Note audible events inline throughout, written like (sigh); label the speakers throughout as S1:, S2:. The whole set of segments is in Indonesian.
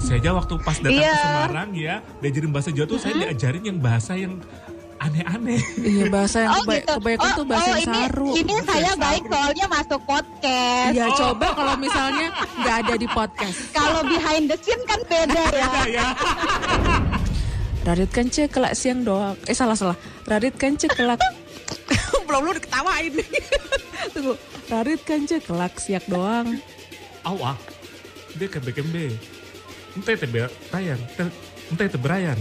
S1: Saya aja waktu pas datang
S2: Iya.
S1: ke Semarang ya, diajarin bahasa Jawa tuh saya diajarin yang bahasa yang
S2: (laughs)
S1: aneh-aneh.
S3: Iya bahasa
S2: Oh,
S3: yang keba- kebanyakan tuh bahasa yang
S2: gitu. ini,
S3: saru.
S2: ini saya baik soalnya masuk podcast.
S3: Ya coba kalau misalnya nggak ada di podcast.
S2: Kalau behind the scene kan
S3: (laughs)
S2: beda ya.
S3: Iya.
S1: Beda ya.
S3: Radit kan cek kelak siang doang. Eh salah salah. Radit kan cek kelak. (laughs) Belum lu diketawain. (laughs) Tunggu. Radit kan cek kelak siang doang.
S1: Awak. Dia ke BKMB. Ente teh Brian. Ente teh Brian.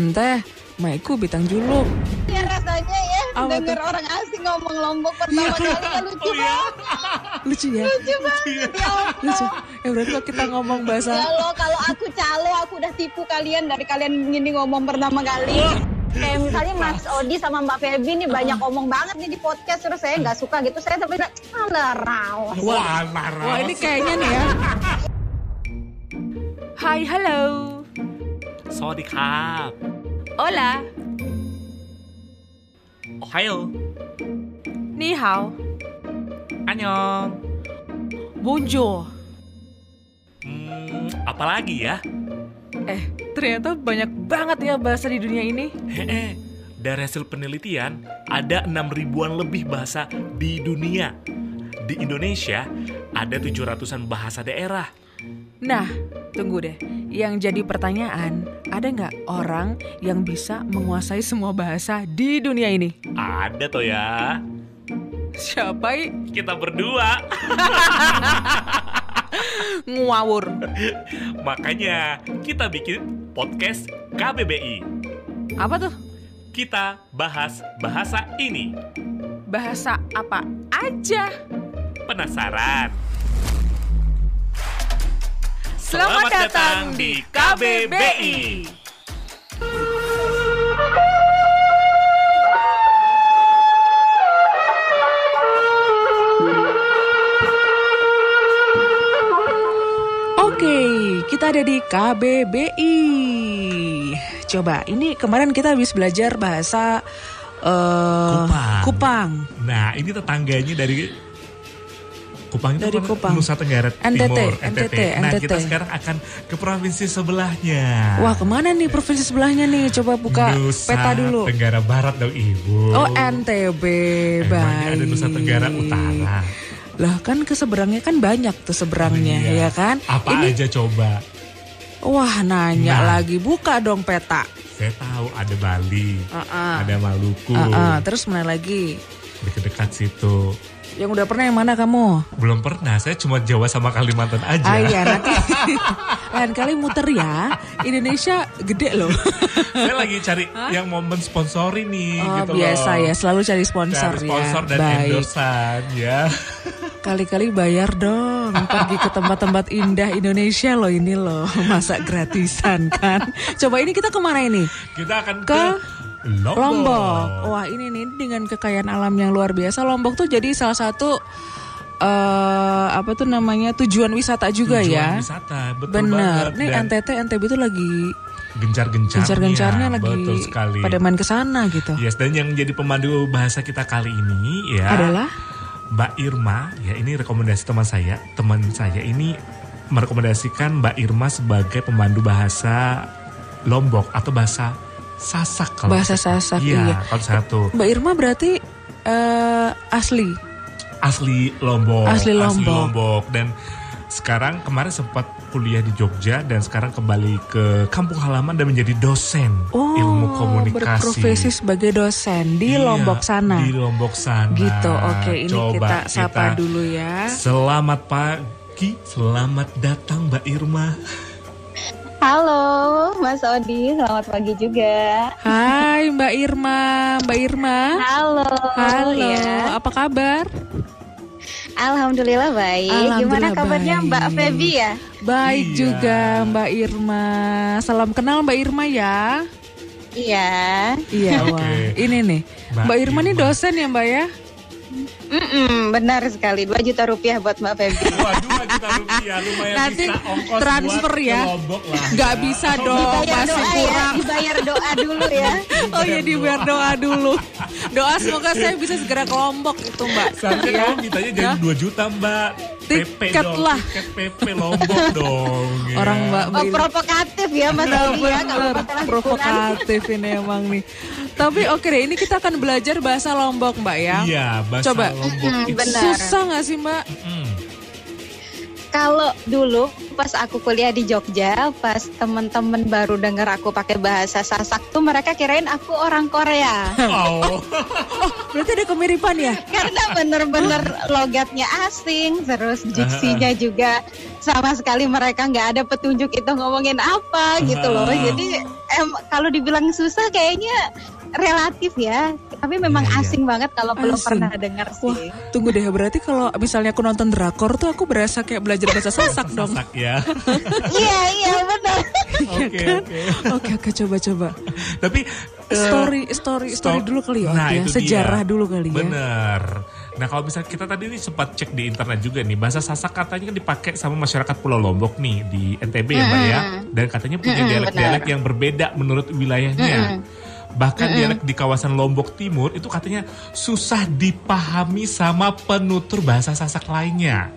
S3: Entah, maiku bintang julung.
S2: Ya rasanya ya
S3: Apa Iya.
S2: denger orang asing ngomong lombok
S1: (laughs)
S2: pertama kali kan lucu
S1: Oh ya.
S2: banget.
S3: Lucu ya?
S2: Lucu banget ya Allah.
S3: Lucu. Ya berarti kalau kita ngomong bahasa
S2: Kalau kalau aku calo aku udah tipu kalian dari kalian gini ngomong pertama kali.
S3: Iya.
S2: Kayak misalnya Mas Odi sama Mbak Feby nih banyak ngomong banget nih di podcast terus saya nggak suka gitu saya tapi bilang, alah rawas.
S1: Oh, iya? Wah, marah.
S3: Wah ini kayaknya nih ya.
S4: Hai, halo.
S5: Sorry ครับ
S4: Hola.
S5: おはよう
S4: Ni hao.
S5: アニョン
S4: Bonjour.
S5: hmm, apalagi ya
S4: Eh, ternyata banyak banget ya bahasa di dunia ini.
S5: Hehe. dari hasil penelitian ada enam ribuan lebih bahasa di dunia di Indonesia ada 700-an bahasa daerah
S4: Nah, tunggu deh. Yang jadi pertanyaan, ada nggak orang yang bisa menguasai semua bahasa di dunia ini?
S5: ada toh ya
S4: Siapa? i?
S5: kita berdua
S4: Ngawur.
S5: makanya kita bikin podcast KBBI
S4: Apa tuh?
S5: kita bahas bahasa ini
S4: Bahasa apa aja?
S5: penasaran
S4: Selamat, datang di KBBI.
S3: Oke, kita ada di KBBI. Coba, ini kemarin kita habis belajar bahasa eh,
S1: Kupang.
S3: Kupang.
S1: Nah, ini tetangganya dari Kupang itu
S3: Dari
S1: apa?
S3: Kupang.
S1: Nusa Tenggara
S3: NTT,
S1: Timur,
S3: NTT.
S1: Nah, kita sekarang akan ke provinsi sebelahnya.
S3: Wah, kemana nih provinsi sebelahnya nih? Coba buka
S1: Nusa
S3: peta dulu.
S1: Tenggara Barat dong, Ibu.
S3: Oh, NTB,
S1: Hmm. Emangnya
S3: baik.
S1: ada Nusa Tenggara Utara.
S3: Lah kan ke seberangnya kan banyak tuh seberangnya,
S1: Oh, iya.
S3: ya kan?
S1: Apa
S3: ini,
S1: aja coba?
S3: Wah, nanya
S1: Nah.
S3: lagi. Buka dong peta.
S1: Saya tahu ada Bali,
S3: Heeh.
S1: ada Maluku,
S3: Heeh, terus mana lagi?
S1: dekat-dekat situ.
S3: Yang udah pernah yang mana kamu?
S1: Belum pernah, saya cuma Jawa sama Kalimantan aja.
S3: Ah iya nanti lain kali muter ya. Indonesia gede
S1: (laughs)
S3: loh.
S1: (laughs) Saya lagi cari yang momen sponsori nih
S3: Oh,
S1: gitu
S3: biasa
S1: loh.
S3: ya, selalu cari sponsor,
S1: Cari sponsor
S3: ya.
S1: dan
S3: Baik.
S1: endorsan ya. (laughs)
S3: Kali-kali bayar dong pergi ke tempat-tempat indah Indonesia loh ini loh. (laughs) Masa gratisan kan? Coba ini kita kemana ini?
S1: Kita akan ke,
S3: Ke
S1: Lombok.
S3: Lombok. Wah, ini nih dengan kekayaan alam yang luar biasa, Lombok tuh jadi salah satu eh apa tuh namanya tujuan wisata juga
S1: Tujuan
S3: ya.
S1: wisata, betul
S3: Bener.
S1: banget.
S3: Nih
S1: Dan
S3: NTT NTB itu lagi
S1: gencar-gencarnya.
S3: gencar-gencarnya lagi
S1: Betul sekali. Iya.
S3: pada main ke sana gitu.
S1: Yes, dan yang jadi pemandu bahasa kita kali ini ya
S3: Adalah
S1: Mbak Irma. Ya, ini rekomendasi teman saya. Teman saya ini merekomendasikan Mbak Irma sebagai pemandu bahasa Lombok atau bahasa Sasak kalau
S3: Bahasa
S1: saya-
S3: Sasak, iya.
S1: Iya, kalau satu
S3: Mbak Irma berarti eh, asli.
S1: asli Lombok,
S3: Asli Lombok.
S1: dan sekarang kemarin sempat kuliah di Jogja dan sekarang kembali ke kampung halaman dan menjadi dosen
S3: Oh,
S1: ilmu komunikasi
S3: berprofesi sebagai dosen di
S1: Iya,
S3: Lombok sana.
S1: Di Lombok sana.
S3: Gitu. Oke, ini
S1: Coba
S3: kita sapa dulu ya.
S1: Selamat pagi, selamat datang Mbak Irma.
S2: Halo Mas Odi, selamat pagi juga.
S3: Hai Mbak Irma, Mbak Irma.
S2: Halo.
S3: Halo,
S2: ya.
S3: apa kabar?
S2: Alhamdulillah baik. Gimana
S3: Alhamdulillah
S2: kabarnya
S3: baik.
S2: Mbak Feby ya?
S3: Baik
S1: Iya.
S3: juga Mbak Irma. Salam kenal Mbak Irma ya.
S2: Iya.
S3: Iya,
S1: Oke.
S3: wah. Ini nih. Mbak,
S1: Mbak
S3: Irma nih
S1: Irma.
S3: dosen ya, Mbak ya?
S2: Mm-mm, benar sekali 2 juta rupiah buat Mbak
S3: (laughs)
S2: Feby.
S1: (laughs) Waduh, juta rupiah ya. lumayan
S3: Nanti
S1: bisa ongkos
S3: transfer
S1: buat
S3: ya.
S1: ke Lombok lah.
S3: (laughs) Nggak bisa dong,
S2: Dibayar
S3: masih
S2: doa ya,
S3: kurang.
S2: dibayar doa dulu
S3: (laughs)
S2: ya.
S3: Oh iya di biar doa dulu. Doa semoga saya bisa segera kelompok itu mbak.
S1: Seharusnya
S3: Ya.
S1: kamu mintanya jadi
S3: Ya.
S1: 2 juta mbak. PP
S3: Tiket
S1: dong,
S3: lah.
S1: tiket PP
S3: (laughs)
S1: Lombok dong. ya.
S3: Orang mbak
S2: Oh,
S3: beli-
S2: provokatif ya Mas Aldi ya kalau
S3: Bener,
S2: masalah hiburan.
S3: provokatif ini emang nih. Tapi oke deh, ini kita akan belajar bahasa Lombok mbak ya.
S1: Iya, bahasa
S3: Coba.
S1: Lombok.
S2: Mm,
S1: itu-
S2: benar.
S3: Susah nggak sih mbak?
S1: Mm.
S2: Kalau dulu pas aku kuliah di Jogja, pas temen-temen baru denger aku pakai bahasa Sasak tuh mereka kirain aku orang Korea.
S1: Oh, (laughs)
S3: Berarti ada kemiripan ya?
S2: Karena
S1: (laughs)
S2: bener-bener logatnya asing, terus diksinya juga sama sekali mereka nggak ada petunjuk itu ngomongin apa gitu loh.
S1: Ah.
S2: Jadi em, kalau dibilang susah kayaknya relatif ya. Tapi memang
S1: Iya, iya.
S2: asing banget kalau belum
S3: Asing.
S2: pernah dengar sih.
S3: Wah, tunggu deh. Berarti kalau misalnya aku nonton drakor tuh aku berasa kayak belajar bahasa Sasak
S1: (laughs)
S3: dong.
S1: sasak
S3: (laughs)
S1: ya.
S2: (laughs) iya iya
S1: (laughs)
S2: benar.
S3: Iya
S1: Oke,
S3: kan?
S1: oke.
S3: Oke oke coba-coba.
S1: Tapi eh,
S3: Story story story
S1: Stok-
S3: dulu kali ya.
S1: Nah,
S3: ya.
S1: itu dia.
S3: Sejarah dulu kali ya.
S1: Bener. Nah kalau misalnya kita tadi nih sempat cek di internet juga nih bahasa Sasak katanya kan dipakai sama masyarakat Pulau Lombok nih di NTB ya mbak ya dan katanya punya
S2: Mm-mm,
S1: dialek-dialek
S2: benar.
S1: yang berbeda menurut wilayahnya. Bahkan dialek di kawasan Lombok Timur itu katanya susah dipahami sama penutur bahasa Sasak lainnya.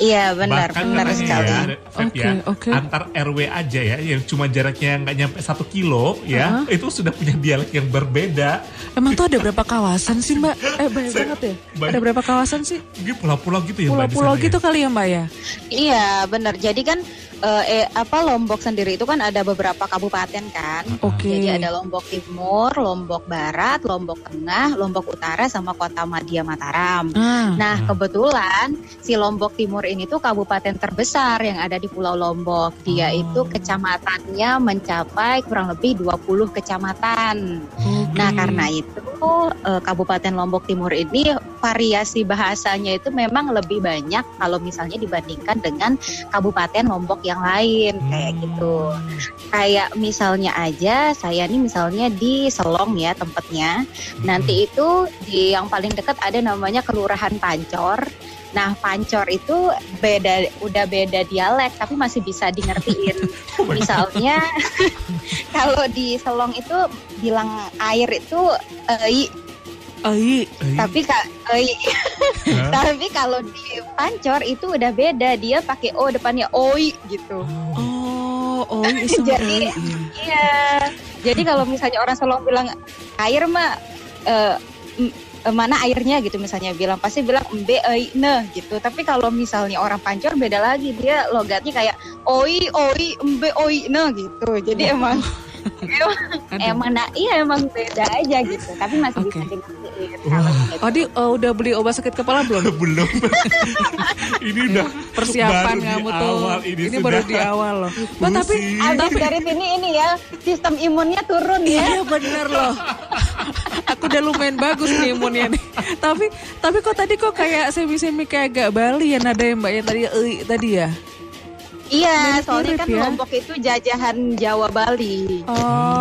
S2: Iya benar
S1: Bahkan
S2: benar
S1: katanya
S2: sekali.
S1: Ya, Feb,
S3: Oke,
S1: ya,
S3: oke.
S1: Antar RW aja ya, yang cuma jaraknya nggak nyampe satu kilo ya, itu sudah punya dialek yang berbeda.
S3: Emang tuh ada berapa kawasan sih mbak? Eh banyak
S1: Saya-
S3: banget ya.
S1: banyak.
S3: Ada berapa kawasan sih?
S1: Ini pulau-pulau gitu ya Mbak, di
S3: Pulau-pulau
S1: sana ya?
S3: gitu kali ya mbak ya?
S2: Iya benar. Jadi kan eh, eh, apa Lombok sendiri itu kan ada beberapa kabupaten kan.
S3: Oke.
S2: Jadi ada Lombok Timur, Lombok Barat, Lombok Tengah, Lombok Utara sama Kota Madia Mataram.
S3: Ah,
S2: Nah,
S1: Hmm.
S2: kebetulan si Lombok Timur ini tuh kabupaten terbesar yang ada di Pulau Lombok.
S1: Oh.
S2: Dia itu kecamatannya mencapai kurang lebih 20 kecamatan.
S3: oke.
S1: Hmm.
S2: Nah, karena itu eh, Kabupaten Lombok Timur ini variasi bahasanya itu memang lebih banyak kalau misalnya dibandingkan dengan kabupaten Lombok yang lain
S1: Hmm.
S2: kayak gitu. Kayak misalnya aja saya nih misalnya di Selong ya tempatnya. Nanti itu di yang paling dekat ada namanya Kelurahan Pancor. Nah, Pancor itu beda udah beda dialek tapi masih bisa dingertiin.
S1: Oh my
S2: Misalnya kalau di Selong itu bilang air itu ei,
S3: Ai,
S1: Eh,
S2: tapi ka, ei.
S1: Hah?
S2: tapi kalau di Pancor itu udah beda, dia pakai o depannya oi gitu.
S3: oh, oh,
S2: (laughs)
S3: isu
S2: Jadi- Iya. Jadi kalau misalnya orang Selong bilang air mah eh, m- eh, mana airnya gitu misalnya bilang pasti bilang mbe ei ne gitu. Tapi kalau misalnya orang Pancor beda lagi dia logatnya kayak oi oi mbe oi ne gitu. Jadi
S3: Iya. (laughs)
S2: emang emang nah, iya emang beda aja gitu. Tapi masih
S3: Oke.
S2: bisa dimatiin. gitu.
S1: Wah.
S3: Odi eh, udah beli obat sakit kepala belum?
S1: (laughs) (laughs)
S3: (laughs)
S1: belum. ini udah
S3: Iya, Persiapan
S1: baru di
S3: kamu tuh.
S1: awal, ini,
S3: ini
S1: sudah.
S3: baru di awal
S1: (laughs)
S3: loh. Mbak, tapi
S1: Pusing.
S2: Abis
S3: tapi
S2: dari sini ini ya sistem imunnya turun ya.
S3: iya. Iya bener loh. (laughs) Aku udah lumayan bagus nih imunnya nih. Tapi tapi kok tadi kok kayak semi-semi kayak agak Bali ya nada ya mbak yang tadi eh, tadi ya.
S2: Iya,
S3: Mirip-mirip
S2: soalnya kan
S3: ya.
S2: Lombok itu jajahan Jawa Bali.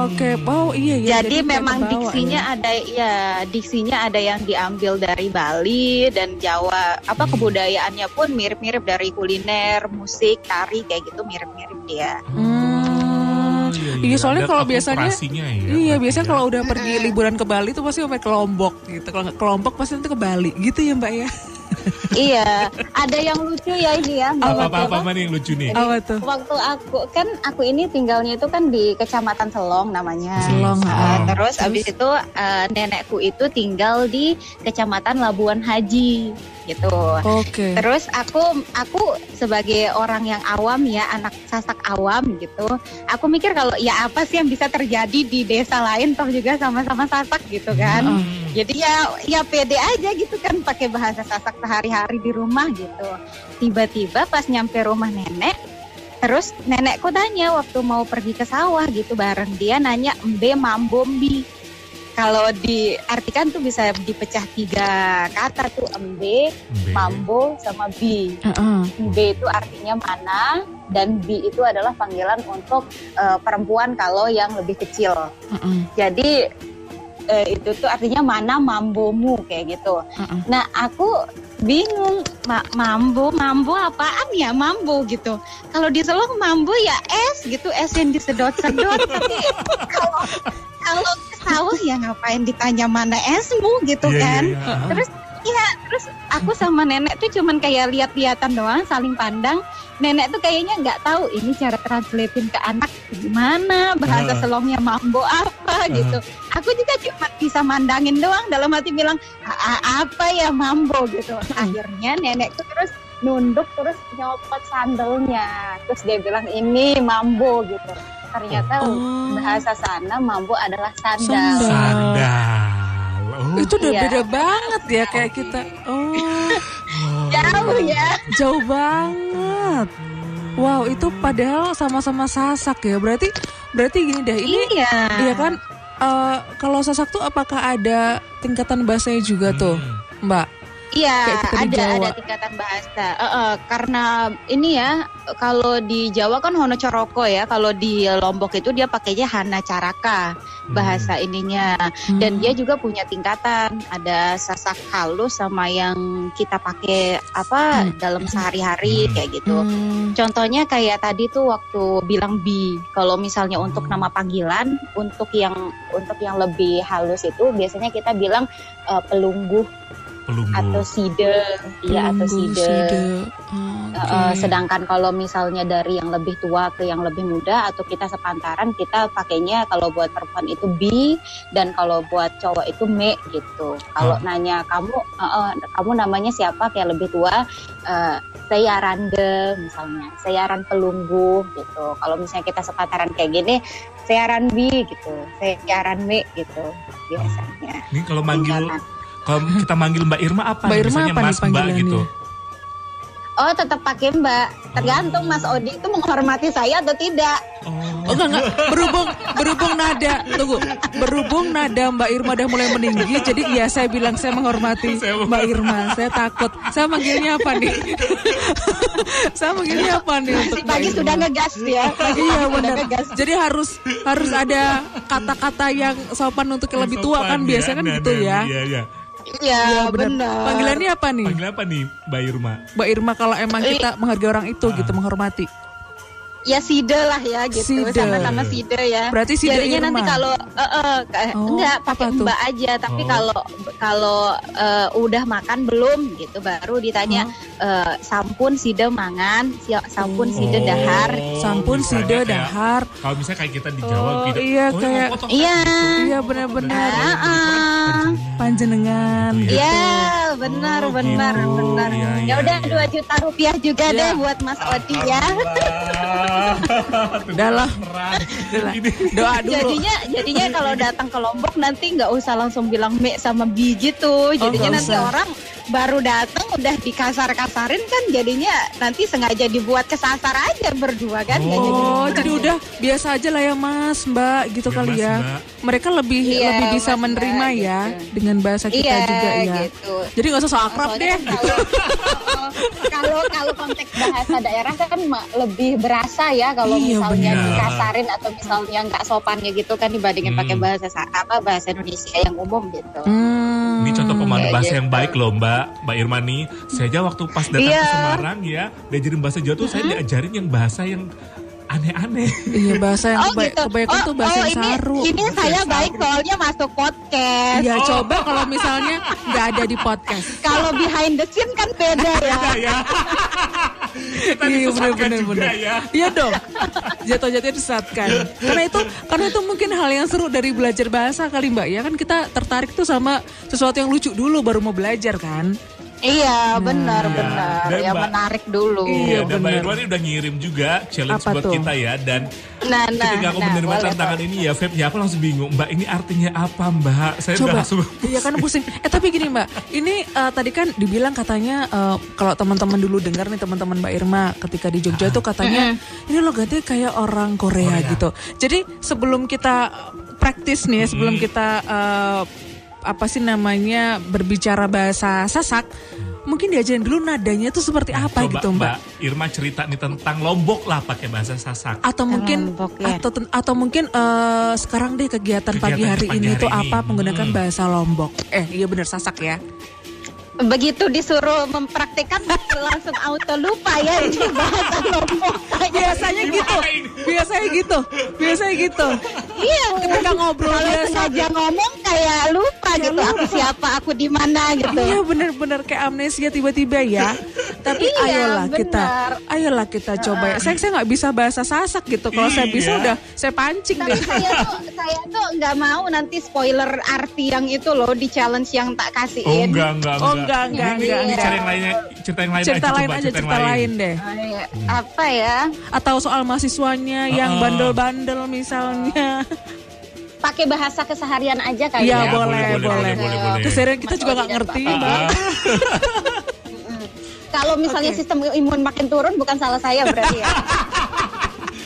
S3: Oke, wow iya iya.
S2: Jadi
S3: kayak
S2: memang
S3: kebawa
S2: diksinya
S3: ya.
S2: ada ya diksinya ada yang diambil dari Bali dan Jawa. Apa kebudayaannya pun mirip-mirip dari kuliner, musik, tari kayak gitu mirip-mirip dia.
S3: Hmm, iya, soalnya
S1: ada
S3: kalau biasanya-
S1: akulturasinya ya,
S3: Iya
S1: berarti
S3: biasanya
S1: ya.
S3: kalau udah pergi liburan ke Bali tuh pasti sampai ke Lombok gitu. Kalau nggak ke Lombok pasti nanti ke Bali gitu ya mbak ya.
S2: iya, ada yang lucu ya ini ya. Mbak
S1: apa apa
S2: Wati.
S1: apa, apa nih yang lucu nih.
S3: Apa tuh?
S2: Waktu aku kan aku ini tinggalnya itu kan di Kecamatan Selong namanya.
S3: Selong,
S2: Uh,
S1: ah.
S2: terus abis itu uh, nenekku itu tinggal di Kecamatan Labuan Haji gitu.
S3: Oke.
S2: Terus aku aku sebagai orang yang awam ya anak sasak awam gitu. Aku mikir kalau ya apa sih yang bisa terjadi di desa lain toh juga sama-sama sasak gitu kan.
S1: Hmm.
S2: Jadi ya ya pede aja gitu kan pakai bahasa sasak sehari-hari di rumah gitu. Tiba-tiba pas nyampe rumah nenek Terus nenekku tanya waktu mau pergi ke sawah gitu bareng dia nanya mbe mambombi. Kalau diartikan tuh bisa dipecah tiga kata tuh
S1: Be-
S2: mbe, mambo sama bi.
S3: Heeh.
S2: B itu artinya mana dan B itu adalah panggilan untuk eh, perempuan kalau yang lebih kecil.
S3: heeh.
S2: Jadi eh, itu tuh artinya mana mambomu kayak gitu.
S4: Mm-mm.
S2: Nah aku bingung Ma- mambo mambo apaan ya mambo gitu. Kalau di Solo mambo ya es gitu es yang
S1: (laughs)
S2: disedot-sedot. Tapi kalau kalau ke sawah ya ngapain ditanya mana esmu gitu
S1: Iya,
S2: kan?
S1: iya, iya.
S2: Terus Iya, terus aku sama nenek tuh cuman kayak lihat-lihatan doang, saling pandang. Nenek tuh kayaknya nggak tahu ini cara translatein ke anak gimana,
S1: Ah.
S2: bahasa selongnya mambo apa gitu. Aku juga cuma bisa mandangin doang dalam hati bilang "A- a- apa ya mambo gitu. Akhirnya nenek tuh terus nunduk terus nyopot sandelnya. Terus dia bilang ini mambo gitu. Ternyata
S3: Oh.
S2: bahasa sana mambo adalah
S3: Sandal.
S2: sandal.
S1: Sandal. Oh,
S3: Itu udah
S2: Iya.
S3: beda banget ya kayak kita. Oh,
S2: Jauh ya.
S3: jauh banget. Wow, itu padahal sama-sama sasak ya. Berarti berarti gini deh, ini
S2: iya.
S3: Iya kan? Eh, kalau sasak tuh apakah ada tingkatan bahasanya juga tuh,
S1: Hmm.
S3: Mbak? Kayak
S2: Iya,
S3: kita di
S2: ada
S3: Jawa.
S2: ada tingkatan bahasa. Eh, eh, karena ini ya, kalau di Jawa kan Hono Coroko ya, kalau di Lombok itu dia pakainya Hana Caraka
S3: Hmm.
S2: bahasa ininya. Dan dia juga punya tingkatan, ada sasak halus sama yang kita pakai apa
S3: Hmm.
S2: dalam sehari-hari
S1: Hmm.
S2: kayak gitu.
S3: Hmm.
S2: Contohnya kayak tadi tuh waktu bilang bi, kalau misalnya untuk
S3: Hmm.
S2: nama panggilan, untuk yang untuk yang lebih halus itu biasanya kita bilang eh, pelungguh
S1: pelumbu.
S2: atau side iya Eh, atau
S3: Pelunggu,
S2: side,
S3: Hmm, Oke.
S2: Uh, sedangkan kalau misalnya dari yang lebih tua ke yang lebih muda atau kita sepantaran kita pakainya kalau buat perempuan itu bi dan kalau buat cowok itu me gitu kalau
S1: Ah.
S2: nanya kamu uh, uh, kamu namanya siapa kayak lebih tua uh, saya Rande misalnya saya Ran Pelunggu gitu kalau misalnya kita sepantaran kayak gini saya Ran bi gitu saya Ran me gitu biasanya
S1: Ini kalau manggil
S2: Tingkatan.
S1: kalau kita manggil Mbak Irma apa?
S3: Mbak Irma
S1: Biasanya
S3: apa nih
S1: Mas Mbak
S3: panggilannya?
S1: gitu.
S2: Oh tetap pakai mbak. Tergantung Mas Odi itu menghormati saya atau tidak.
S3: Oh enggak, enggak. berhubung berhubung nada tunggu berhubung nada Mbak Irma udah mulai meninggi jadi ya saya bilang saya menghormati Mbak Irma saya takut saya manggilnya apa (laughs) nih saya manggilnya apa nih untuk
S2: Masih pagi
S3: Mbak Irma?
S2: sudah ngegas ya. Pagi
S3: Iya
S2: sudah
S3: benar.
S2: ngegas.
S3: Jadi harus harus ada kata-kata yang sopan untuk yang lebih tua kan
S1: Sopan,
S3: biasanya kan
S1: ada,
S3: gitu
S1: ada,
S3: ya.
S1: Iya, iya.
S2: Iya
S3: benar.
S2: benar.
S3: Panggilannya apa nih?
S1: Panggil apa nih Mbak Irma?
S3: Mbak Irma kalau emang
S2: Iya.
S3: kita menghargai orang itu gitu menghormati.
S2: Ya side lah ya gitu.
S3: Side.
S2: Sama-sama side ya.
S3: Berarti side
S2: Jadinya nanti
S3: Irma.
S2: kalau eh, eh, ka-
S3: Oh,
S2: enggak
S3: apa
S2: pakai
S3: tuh?
S2: mbak aja. Tapi
S1: Oh.
S2: kalau kalau eh, udah makan belum gitu baru ditanya eh, sampun side mangan, si- sampun
S3: Oh.
S2: side dahar.
S3: Sampun
S1: misalnya
S3: sida
S1: kayak-
S3: dahar.
S1: Kalau misalnya kayak kita di Jawa
S3: Oh,
S1: gitu.
S3: iya,
S1: oh,
S3: kayak-
S1: potong kan?
S2: Iya.
S1: Gitu.
S3: Iya, benar-benar.
S1: Potong kan?
S2: Ah,
S3: Panjenengan.
S1: Gitu
S2: Iya, benar,
S1: Oh,
S2: benar,
S1: gitu.
S2: benar.
S1: Iya, iya,
S2: ya udah
S1: iya. ah,
S2: 2 juta rupiah juga
S3: Iya.
S2: deh buat Mas Odi ya.
S1: (laughs) Alhamdulillah.
S3: Udah lah.
S1: Terang.
S3: Udah lah.
S1: Ini
S3: Doa dulu.
S2: Jadinya jadinya kalau datang ke Lombok nanti nggak usah langsung bilang me sama bi gitu. Jadinya
S3: nggak
S2: nanti
S3: usah.
S2: orang baru datang udah dikasar-kasarin kan jadinya nanti sengaja dibuat kesasar aja berdua kan. nggak jadi
S3: Oh,
S2: bukan.
S3: jadi udah biasa aja lah ya Mas, Mbak gitu
S1: Ya,
S3: kali
S1: Mas,
S3: ya.
S1: Mbak.
S3: Mereka lebih
S2: Iya,
S3: lebih bisa
S2: Mas, Mbak,
S3: menerima ya
S2: gitu.
S3: dengan bahasa kita
S2: Iya,
S3: juga ya.
S2: gitu.
S3: Jadi nggak usah so akrab
S2: Soalnya
S3: deh.
S2: kan
S3: (laughs)
S2: kalau- Kalau kalau konteks bahasa daerah kan ma- lebih berasa ya kalau
S3: Iya,
S2: misalnya
S1: benar.
S2: dikasarin atau misalnya nggak sopannya gitu kan dibandingin
S1: Hmm.
S2: pakai bahasa sa- apa bahasa Indonesia yang umum gitu.
S3: Hmm.
S1: Ini contoh pemandu
S2: Kayak
S1: bahasa yang
S2: gitu.
S1: baik loh Mbak, Mbak Irma nih. Saya aja waktu pas datang
S2: Iya.
S1: ke Semarang ya, diajarin bahasa Jawa tuh saya diajarin yang bahasa yang aneh-aneh. (laughs)
S3: Iya bahasa yang
S2: Oh,
S3: kebaikan kebanyakan tuh bahasa yang
S2: gitu. ini,
S3: saru.
S2: ini saya baik soalnya masuk podcast.
S1: Oh.
S3: Ya coba kalau misalnya nggak ada di podcast.
S2: Kalau behind the scene kan
S3: (laughs)
S2: beda ya.
S1: Nah, ya. Kita
S3: Iya,
S1: disesatkan
S3: bener,
S1: juga
S3: bener.
S1: ya.
S3: Iya dong. Jatuh-jatuhnya disesatkan. Karena itu karena itu mungkin hal yang seru dari belajar bahasa kali Mbak ya kan kita tertarik tuh sama sesuatu yang lucu dulu baru mau belajar kan.
S2: Iya benar
S1: Iya.
S2: benar.
S1: Dan
S2: Ya
S1: Mbak-
S2: menarik dulu.
S1: Iya,
S3: Nah. Iya,
S1: dan Mbak
S3: bener.
S1: Irma ini udah ngirim juga challenge
S3: Apa
S1: buat
S3: tuh?
S1: kita ya. Dan
S2: Nah, nah,
S1: ketika aku
S2: nah,
S1: menerima
S2: boleh,
S1: tantangan ini ya, Feb, ya aku langsung bingung. Mbak, ini artinya apa Mbak? Saya udah
S3: Coba.
S1: langsung...
S3: Iya kan pusing. Eh tapi gini Mbak, ini eh, tadi kan dibilang katanya eh, kalau teman-teman dulu dengar nih teman-teman Mbak Irma ketika di Jogja tuh katanya ini lo ganti kayak orang Korea, gitu. Jadi sebelum kita eh, praktis nih, sebelum kita eh, apa sih namanya berbicara bahasa Sasak mungkin diajarin dulu nadanya tuh seperti apa
S1: Nah, Coba
S3: gitu Mbak.
S1: Irma cerita nih tentang Lombok lah pakai bahasa
S2: Ah,
S1: Sasak.
S3: Atau mungkin
S2: Lombok, ya.
S3: atau ten- atau mungkin eh, sekarang deh kegiatan, pagi
S1: Kegiatan
S3: hari
S1: pagi
S3: ini
S1: hari
S3: tuh
S1: ini.
S3: apa menggunakan
S1: Hmm.
S3: bahasa Lombok. Eh, iya bener sasak ya.
S2: Begitu disuruh mempraktekkan langsung auto lupa
S3: (laughs)
S2: ya ini bahasa Lombok.
S3: Biasanya gitu. Biasanya gitu. Biasanya gitu.
S2: Iya,
S3: Ketika ngobrol
S2: kalau
S3: biasa
S2: sengaja ngomong kayak lupa gitu aku siapa, aku di mana gitu.
S3: Iya benar-benar kayak amnesia tiba-tiba ya. Tapi
S2: Iya,
S3: ayolah kita,
S2: benar.
S3: ayolah kita coba. ya. Saya saya nggak bisa bahasa sasak gitu. Kalau saya
S1: Iya.
S3: bisa udah saya pancing
S2: Tapi
S3: deh.
S2: saya tuh saya tuh nggak mau nanti spoiler arti yang itu loh di challenge yang tak kasihin.
S1: Oh enggak enggak
S3: Oh, enggak, enggak,
S1: Ini- ini
S2: enggak.
S1: Cari yang lainnya, cerita yang lain
S3: Cerita
S1: aja
S3: lain
S1: coba,
S3: aja, cerita lain deh.
S2: Eh, Apa ya?
S3: Atau soal mahasiswanya yang
S1: Uh-uh.
S3: bandel-bandel misalnya.
S2: Pakai bahasa keseharian aja kali
S3: Iya
S1: Ya,
S2: ya.
S3: boleh,
S1: boleh, boleh,
S3: boleh.
S1: boleh, boleh.
S3: Keserian kita
S2: Mas
S3: juga
S2: Odi
S3: nggak
S1: Ah,
S2: dan
S3: ngerti.
S1: (laughs)
S2: Pak
S3: Mbak.
S2: Mm. Kalau misalnya
S3: Oke.
S2: sistem imun makin turun bukan salah saya
S3: (laughs)
S2: berarti ya.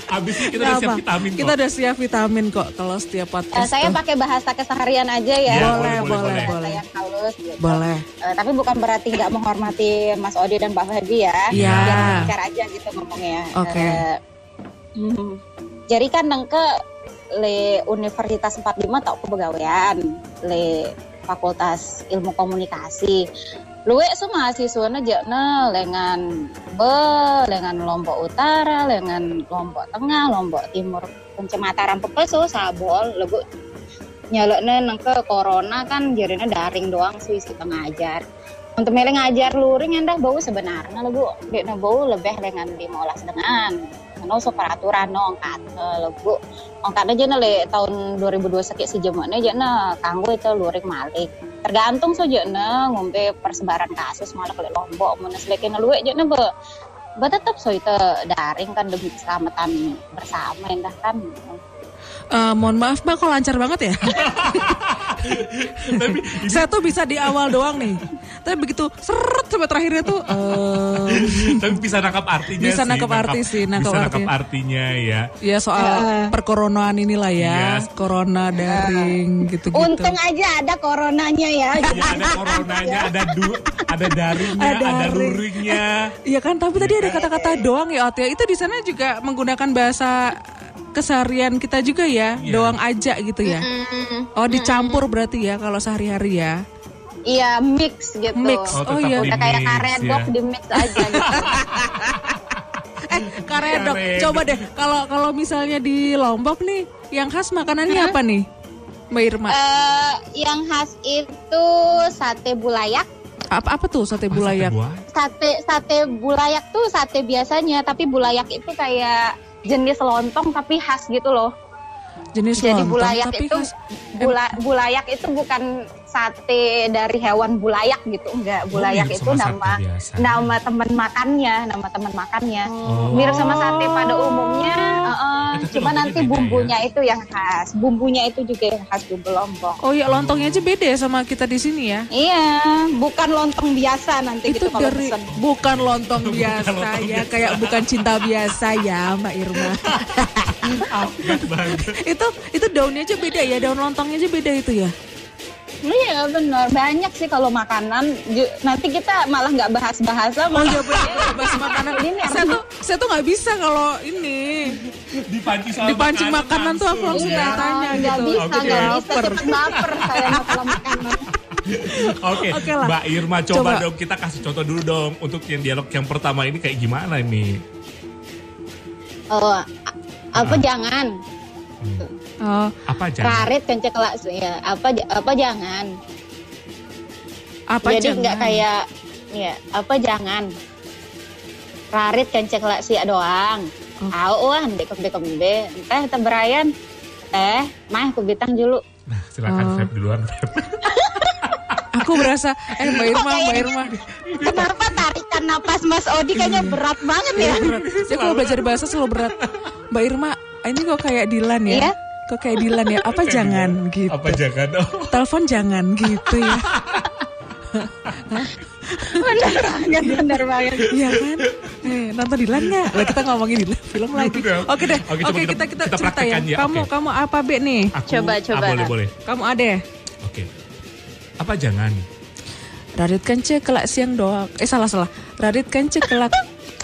S1: Abis ini kita udah
S3: Nggak
S1: siap
S3: apa.
S1: vitamin kok.
S3: Iya, Kita udah siap vitamin kok kalau setiap
S2: Eh,
S3: podcast.
S2: saya
S3: tuh.
S2: pakai bahasa keseharian aja ya.
S1: Ya,
S3: boleh,
S1: boleh,
S3: boleh,
S1: boleh.
S2: Bahasa
S3: boleh.
S2: yang halus. gitu.
S3: Boleh.
S2: Eh, tapi bukan berarti nggak menghormati Mas Odi dan Mbak Ferdi ya.
S3: Iya.
S2: Biar lancar aja gitu ngomongnya.
S3: Oke.
S2: Eh, hmm. Jadi kan nengke le Universitas 45 tau kebegawean, le Fakultas Ilmu Komunikasi. Luwe so mahasiswa jekna lengan be, lengan Lombok Utara, lengan Lombok Tengah, Lombok Timur, pencemataran pepel so sabol, lebu nyalekne nengke corona kan jarina daring doang sih kita ngajar untuk milih ngajar luring endah bau sebenarnya legu dekna bau lebih dengan lima olas dengan karena so peraturan no angkat eh, legu angkat aja nele tahun 2002 sakit si jemuknya aja nah kanggo itu luring malik tergantung so jena ngombe persebaran kasus malah kalau lombok mau nesleke ngeluwe jena be be tetep so itu daring kan demi keselamatan bersama endah kan
S3: Eh, mohon maaf mbak, kok lancar banget ya?
S1: Tapi ini
S3: (laughs) Saya tuh bisa di awal doang nih. Tapi begitu seret sampai terakhirnya tuh eh,
S1: tapi bisa nangkap artinya
S3: Bisa
S1: sih,
S3: nangkep arti sih, nangkep
S1: bisa nangkep
S3: artinya.
S1: artinya ya.
S3: ya soal perkoronoan inilah ya.
S1: Yes.
S3: Corona daring gitu-gitu.
S2: untung aja ada coronanya ya
S1: Ya
S3: (laughs)
S1: ada coronanya, ada du, ada daringnya,
S3: Ada
S1: ada,
S3: daring.
S1: luringnya.
S3: Iya kan, tapi tadi ada kata-kata doang ya Ot ya. Itu di sana juga menggunakan bahasa keseharian kita juga ya,
S1: Iya.
S3: doang aja gitu ya. Oh, dicampur berarti ya kalau sehari-hari ya.
S2: (laughs) Iya mix gitu.
S3: Mix.
S1: Oh,
S3: Oh, iya.
S1: tetap
S2: Udah kayak karet
S1: di-mix,
S2: box
S1: ya.
S2: di mix aja gitu.
S3: Karedok.
S1: Karedok.
S3: Coba deh kalau kalau misalnya di Lombok nih, yang khas makanannya apa nih? Mbak Irma.
S2: Eh, yang khas itu sate bulayak.
S3: apa apa tuh sate
S1: Masa
S3: bulayak?
S1: kedua?
S2: Sate sate bulayak tuh sate biasanya, tapi bulayak itu kayak jenis lontong tapi khas gitu loh.
S3: Jenis
S2: Jadi
S3: lontong,
S2: bulayak
S3: tapi
S2: itu
S3: khas-
S2: bula- bulayak itu bukan sate dari hewan bulayak gitu, enggak. Bulayak
S1: Oh, mirip
S2: itu
S1: sama sate
S2: nama
S1: biasa.
S2: nama teman makannya, nama teman makannya.
S1: Oh.
S2: mirip sama sate pada umumnya uh-uh.
S1: Eh, tapi
S2: cuma
S1: lontongnya
S2: nanti
S1: beda
S2: bumbunya itu yang khas bumbunya itu juga yang khas bumbu lombok
S3: Oh iya lontongnya aja beda ya sama kita di sini ya.
S2: iya bukan lontong biasa nanti gitu
S3: Itu
S2: kalau
S3: dari
S2: pesen
S3: bukan lontong biasa
S1: lontong
S3: ya, kayak bukan cinta biasa ya, Mbak
S1: (laughs)
S3: Irma.
S1: Apet banget.
S3: itu itu daunnya aja beda ya, daun lontongnya aja beda itu ya.
S2: iya benar banyak sih kalau makanan Ju- nanti kita malah nggak bahas bahasa
S3: Oh
S2: malah
S3: iya benar bahas makanan.
S2: Ini
S3: Saya tuh saya tuh nggak bisa kalau ini
S1: Dipancing sama
S3: dipancing makanan tuh aku langsung
S2: Iya,
S3: tanya
S2: nggak
S3: gitu.
S2: bisa nggak
S1: Oke.
S2: bisa cepet baper saya mau kalau makanan
S1: Oke,
S3: Oke lah.
S1: Mbak Irma coba,
S3: Coba.
S1: dong kita kasih contoh dulu dong untuk yang dialog yang pertama ini kayak gimana ini?
S2: oh a- apa
S1: Ah.
S2: jangan
S3: Oh,
S1: Apa aja?
S2: karet kencek langsung ya apa j- apa jangan
S3: apa Nah,
S2: jadi
S3: jangan?
S2: nggak kayak ya apa jangan rarit kenceng lah sia doang
S3: Oh.
S2: Au ah, wah dekem dekem be teh Eh, teh berayan teh mah aku bintang dulu
S1: Nah, silakan
S3: Oh.
S1: Feb duluan. Feb.
S3: Aku berasa eh Mbak Irma, Mbak Irma.
S2: kenapa tarikan napas Mas Odi kayaknya berat banget ya
S3: Iya, berat. Saya kalau belajar bahasa selalu berat. Mbak Irma, ini kok kayak Dilan ya?
S2: Iya.
S3: Kok kayak Dilan ya? Apa jangan gitu?
S1: Apa jangan? Oh,
S3: Telepon jangan gitu ya?
S2: bener banget bener banget
S3: Iya kan? Eh, nonton Dilan nggak? Lah kita ngomongin Dilan film lagi.
S1: Udah.
S3: Oke deh.
S1: Oke,
S3: Oke,
S1: coba kita-
S3: kita kita,
S1: kita
S3: cerita ya.
S1: praktekkan ya,
S3: Kamu
S1: oke.
S3: kamu apa Be nih?
S1: aku
S2: Coba, coba.
S1: Ah, boleh boleh.
S3: Kamu ada? ya?
S1: Oke. Apa jangan?
S3: Radit kan cekelak siang doang. Eh salah salah. Radit kan cekelak.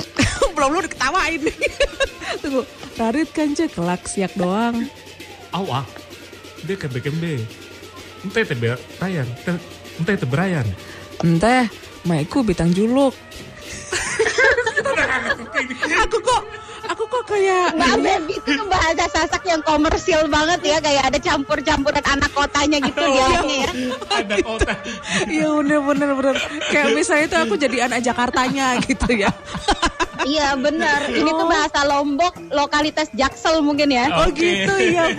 S3: (laughs) belum lu diketawain. (laughs) Tunggu. Radit kan cekelak siang doang.
S1: Awak, dia ke BKMB. Entah itu Brian, Ente- entah itu
S3: (laughs)
S1: Brian.
S3: Entah, maiku bintang juluk. aku kok aku kok kayak
S2: Mbak Feby itu tuh bahasa Sasak yang komersil banget ya kayak ada campur-campuran anak kotanya
S3: Oh,
S2: gitu ya. ya.
S1: Ada kota.
S3: Iya bener bener bener Kayak misalnya itu aku jadi anak Jakartanya gitu ya
S2: Iya benar. Ini tuh bahasa Lombok, lokalitas Jaksel mungkin ya.
S3: Oh
S1: Oke.
S3: gitu ya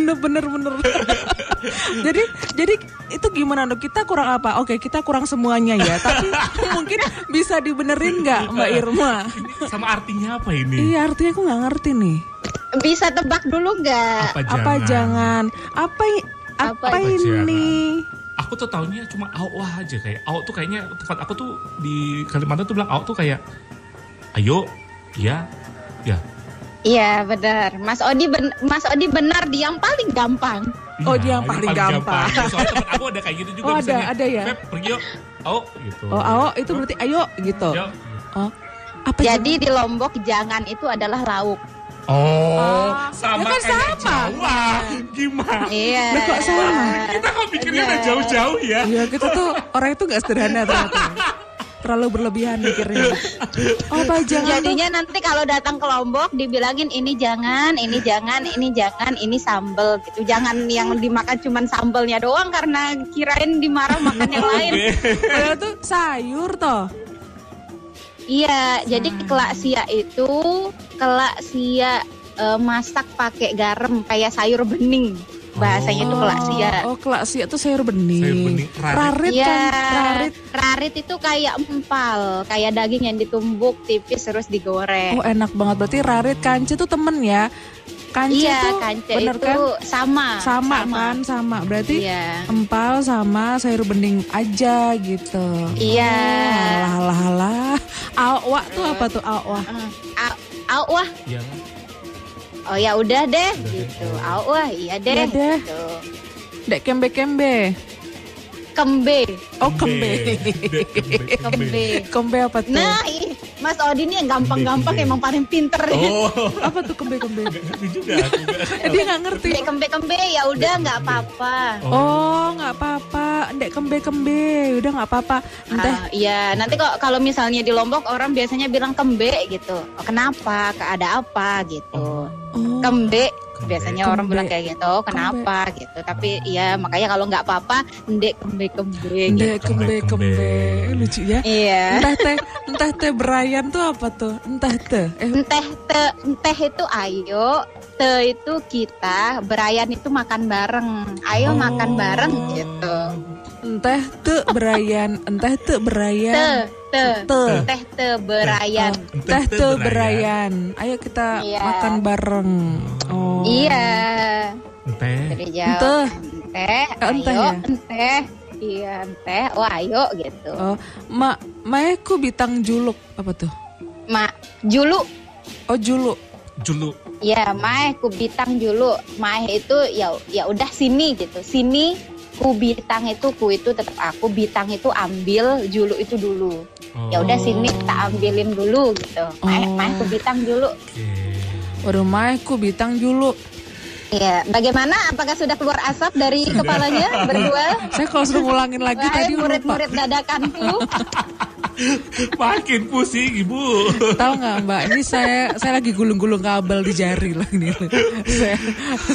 S3: belum bener bener bener Jadi jadi itu gimana dok kita kurang apa? Oke kita kurang semuanya ya Tapi mungkin bisa dibenerin nggak Mbak Irma?
S1: Sama artinya apa ini?
S3: Iya artinya aku nggak ngerti nih
S2: Bisa tebak dulu nggak?
S3: Apa jangan? Apa i- apa,
S2: Apa
S3: ini?
S1: Aku tuh taunya cuma awah aja kayak awak tuh kayaknya tempat aku tuh di Kalimantan tuh bilang awak tuh kayak ayo, ya, ya.
S2: Iya benar. Mas Odi ben- Mas Odi benar dia yang paling gampang.
S3: Oh,
S1: Iya,
S3: dia yang
S1: ini
S3: paling gampang.
S1: Iya, Soalnya temen aku ada kayak gitu juga
S3: Oh, ada-
S1: misalnya,
S3: ada ya?
S1: "Beb, pergi yuk. Awak gitu. iya.
S3: Oh awo itu berarti ayo gitu
S1: Yuk.
S3: Oh apa
S2: Jadi di Lombok jangan itu adalah lauk.
S1: Oh,
S3: ya
S1: sama
S3: kan
S1: kayak
S3: sama.
S1: Jawa. Gimana?
S2: Iya.
S3: Ah, Lah, kok sama?
S1: Kita kok pikirnya udah
S2: Iya.
S1: jauh-jauh ya?
S3: Iya kita tuh orang itu gak sederhana ternyata Terlalu berlebihan mikirnya Oh pajangan tuh
S2: Jadinya nanti kalau datang ke Lombok dibilangin ini jangan, ini jangan, ini jangan, ini sambel gitu. Jangan yang dimakan cuman sambelnya doang karena kirain dimarah makan
S1: (laughs)
S2: yang lain.
S3: padahal tuh sayur toh
S2: Iya, jadi
S3: Hmm.
S2: kelak sia itu kelak sia eh, masak pakai garam kayak sayur bening. Bahasanya itu kelak sia.
S3: Oh kelak sia tuh sayur bening
S1: Sayur bening, rarit.
S3: Rarit
S2: Iya,
S3: kan Rarit
S2: rarit itu kayak empal, kayak daging yang ditumbuk tipis terus digoreng.
S3: Oh enak banget berarti rarit kance tuh temen ya Kance
S2: iya,
S3: tuh
S2: kance
S3: bener
S2: itu
S3: kan
S2: sama,
S3: sama, kan sama Berarti
S2: Iya.
S3: empal sama sayur bening aja gitu
S2: Iya.
S3: oh, Alah alah alah Awak tuh apa tuh awak
S2: Eh, au- au, wah,
S1: Iya.
S2: oh ya udah deh
S1: Udah deh.
S2: gitu. Au wah, iya deh.
S3: Iya deh.
S2: Gitu.
S3: Dek kembe-kembe
S2: Kembe,
S3: Oh kembe
S1: Kembe, kembe, kembe.
S2: kembe.
S3: Kembe apa tuh?
S2: Nah, ih, Mas Odi ini yang
S1: Kembe,
S2: gampang-gampang
S1: kembe.
S2: emang paling pinter.
S1: Oh,
S3: apa tuh kembe-kembe?
S1: nggak ngerti juga aku.
S3: Eh, dia nggak ngerti.
S2: Kembe kembe kembe ya udah nggak apa-apa.
S3: Oh, nggak apa-apa. Ndek kembe-kembe, udah nggak apa-apa. Entah.
S2: Ah, Iya, nanti kok kalau misalnya di Lombok orang biasanya bilang kembe gitu. Oh, kenapa? Ke- Ada apa gitu.
S3: Oh,
S2: Kembe biasanya orang
S3: Kembe.
S2: bilang kayak gitu. Kenapa gitu? Tapi ya makanya kalau nggak apa-apa, ndek kembe kembe. Gitu.
S3: Ndek kembe-kembe, Eh, lucu ya.
S2: Iya.
S3: Entah teh, entah teh Brian tuh apa tuh? Entah teh. Eh,
S2: Enteh te, enteh itu ayo, te itu kita, Brian itu makan bareng. Ayo makan bareng gitu.
S3: entah teh Brian, entah
S2: Te,
S3: teh Brian.
S2: te,
S3: Teh.
S2: teh te
S1: Oh,
S2: Brian.
S3: Entah teh
S1: ya?
S3: Brian. Iya, Ayo kita
S2: Iya.
S3: makan bareng. Oh.
S2: Iya.
S1: Teh.
S2: Jadi
S3: Enteh.
S2: jawab enteh,
S3: Eh, enteh
S2: ayo
S3: ya?
S2: enteh. Iya, enteh. Wah, ayo gitu.
S3: Oh, ma, maeku bintang juluk apa tuh?
S2: Ma, julu
S3: Oh, juluk.
S1: Julu.
S2: Ya, Mae kubitang dulu. Mae itu ya ya udah sini gitu. Sini kubitang itu ku itu tetap aku, bitang itu ambil, julu itu dulu.
S1: Oh,
S2: Ya udah sini tak ambilin dulu gitu. Mae
S3: Oh.
S2: Mae kubitang dulu.
S1: Oke.
S3: Waduh, maeku bintang juluk.
S2: Ya, bagaimana? Apakah sudah keluar asap (laughs) dari kepalanya berdua?
S3: Saya kalau suruh ngulangin lagi
S2: Wahai
S3: tadi lupa.
S2: eh, murid-murid (laughs) dadakanku.
S1: Makin pusing ibu.
S3: Tahu nggak Mbak? Ini saya saya lagi gulung-gulung kabel di jari lah ini. (laughs) saya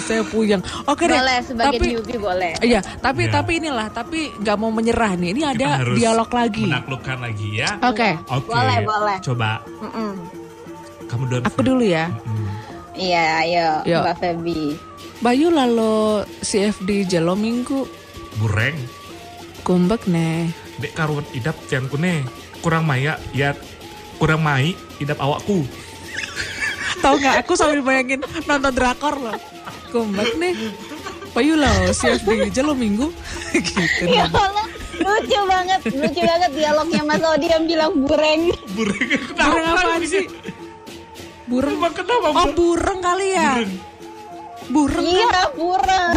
S3: saya puyeng. Oke deh.
S2: boleh sebagai
S3: tapi
S2: newbie boleh.
S3: Iya, tapi
S1: Iya.
S3: tapi inilah, tapi nggak mau menyerah nih. Ini ada
S1: Kita harus
S3: dialog lagi.
S1: Menaklukkan lagi ya.
S3: Oke,
S1: Oke.
S2: Boleh, boleh.
S1: Coba
S2: Mm-mm.
S1: kamu dulu.
S3: aku dulu ya.
S1: Hmm.
S2: Iya, ayo,
S3: Yuk.
S2: Mbak Feby.
S3: Bayu lalu CFD jalo minggu
S1: Bureng.
S3: kumbek neh.
S1: Dek karuan idap tian kune. Kurang maya ya kurang mai idap awakku.
S3: Tahu nggak? Aku sambil bayangin nonton drakor loh. Kumbek neh. Bayu lalu CFD jalo minggu. (laughs) gitu.
S2: Ya Allah, lucu banget, lucu banget dialognya Mas Odi yang bilang bureng.
S1: Bureng kenapa?
S3: Burung apaan sih? Burung
S1: Emang kenapa?
S3: Oh
S1: Bu?
S3: burung kali ya? Burung.
S2: Iya, bureng.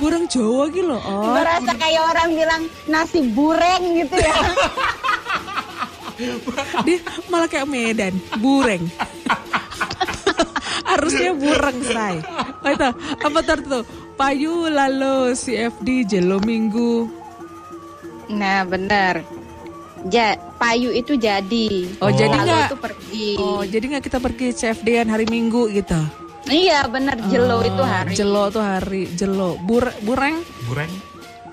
S3: Burung Jawa gitu loh. Oh.
S2: Berasa kayak orang bilang nasi bureng gitu ya.
S3: Dia malah kayak Medan, bureng. Harusnya bureng, say. Oh, itu, apa ntar tuh? Payu lalu CFD jelo minggu.
S2: Nah benar. Ja, payu itu jadi.
S3: Oh, jadi
S2: Lalu
S3: nggak?
S2: itu pergi.
S3: Oh, jadi nggak kita pergi CFD-an hari Minggu gitu.
S2: iya benar jelo itu
S3: Oh.
S2: hari.
S3: Jelo tuh hari jelo. Bur bureng,
S1: Goreng.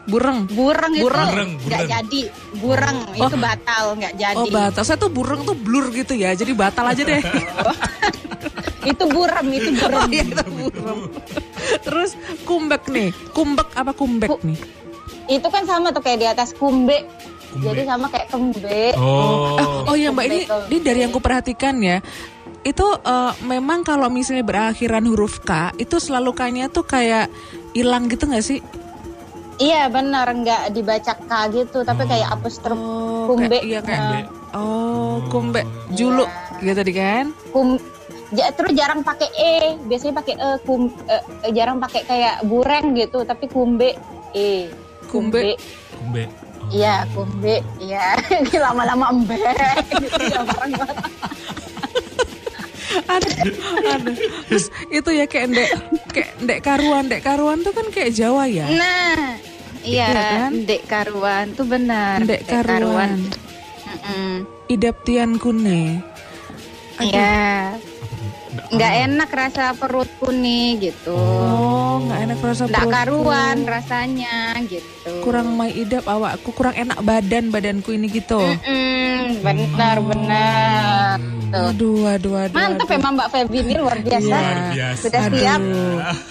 S3: bureng.
S2: Bureng itu
S3: Bureng,
S1: bureng.
S2: nggak jadi. Bureng itu batal nggak jadi.
S3: Oh, batal. Saya tuh bureng tuh blur gitu ya. Jadi batal aja deh.
S2: (laughs) itu burem itu burem.
S3: (laughs) Oh, iya, itu burem. Terus kumbek nih. Kumbek apa kumbek
S2: Ku-
S3: nih?
S2: itu kan sama tuh kayak di atas kumbe.
S1: Kumbe.
S2: Jadi sama kayak kembe.
S1: Oh.
S3: Oh iya mbak ini,
S2: Betul.
S3: ini dari yang kuperhatikan ya itu eh, memang kalau misalnya berakhiran huruf K itu selalu K-nya tuh kayak hilang gitu nggak sih?
S2: Iya benar nggak dibaca K gitu tapi kayak apostrof
S3: Oh,
S2: kumbe.
S3: kayak- iya kayak
S2: Nah,
S3: oh kumbe juluk gitu tadi kan?
S2: kum ja- terus jarang pakai e biasanya pakai e kum e, e, jarang pakai kayak bureng gitu tapi kumbe e
S3: Kumbe.
S1: Kumbe. Oh.
S2: iya kumbe iya (laughs) Ini lama-lama
S3: (laughs)
S2: embe gitu ya bareng banget.
S3: Aduh, aduh. Terus itu ya kayak ndek kayak ndek karuan, ndek karuan tuh kan kayak Jawa ya?
S2: nah iya
S3: Iya kan?
S2: dek karuan tuh benar
S3: Ndek karuan,
S2: Mm-mm.
S3: idaptian kune. Aduh.
S2: iya
S1: Nggak
S2: nggak
S1: tahu.
S2: enak rasa perutku nih gitu
S3: Oh, nggak enak rasa
S2: nggak
S3: perutku.
S2: karuan rasanya gitu
S3: kurang mai idap awakku kurang enak badan badanku ini gitu
S2: Mm. Mm-mm, benar benar tuh
S3: aduh aduh aduh
S2: Mantap
S3: aduh.
S2: emang Mbak Febi ini luar biasa.
S3: Iya.
S1: Luar biasa.
S2: Sudah
S3: Aduh,
S2: siap.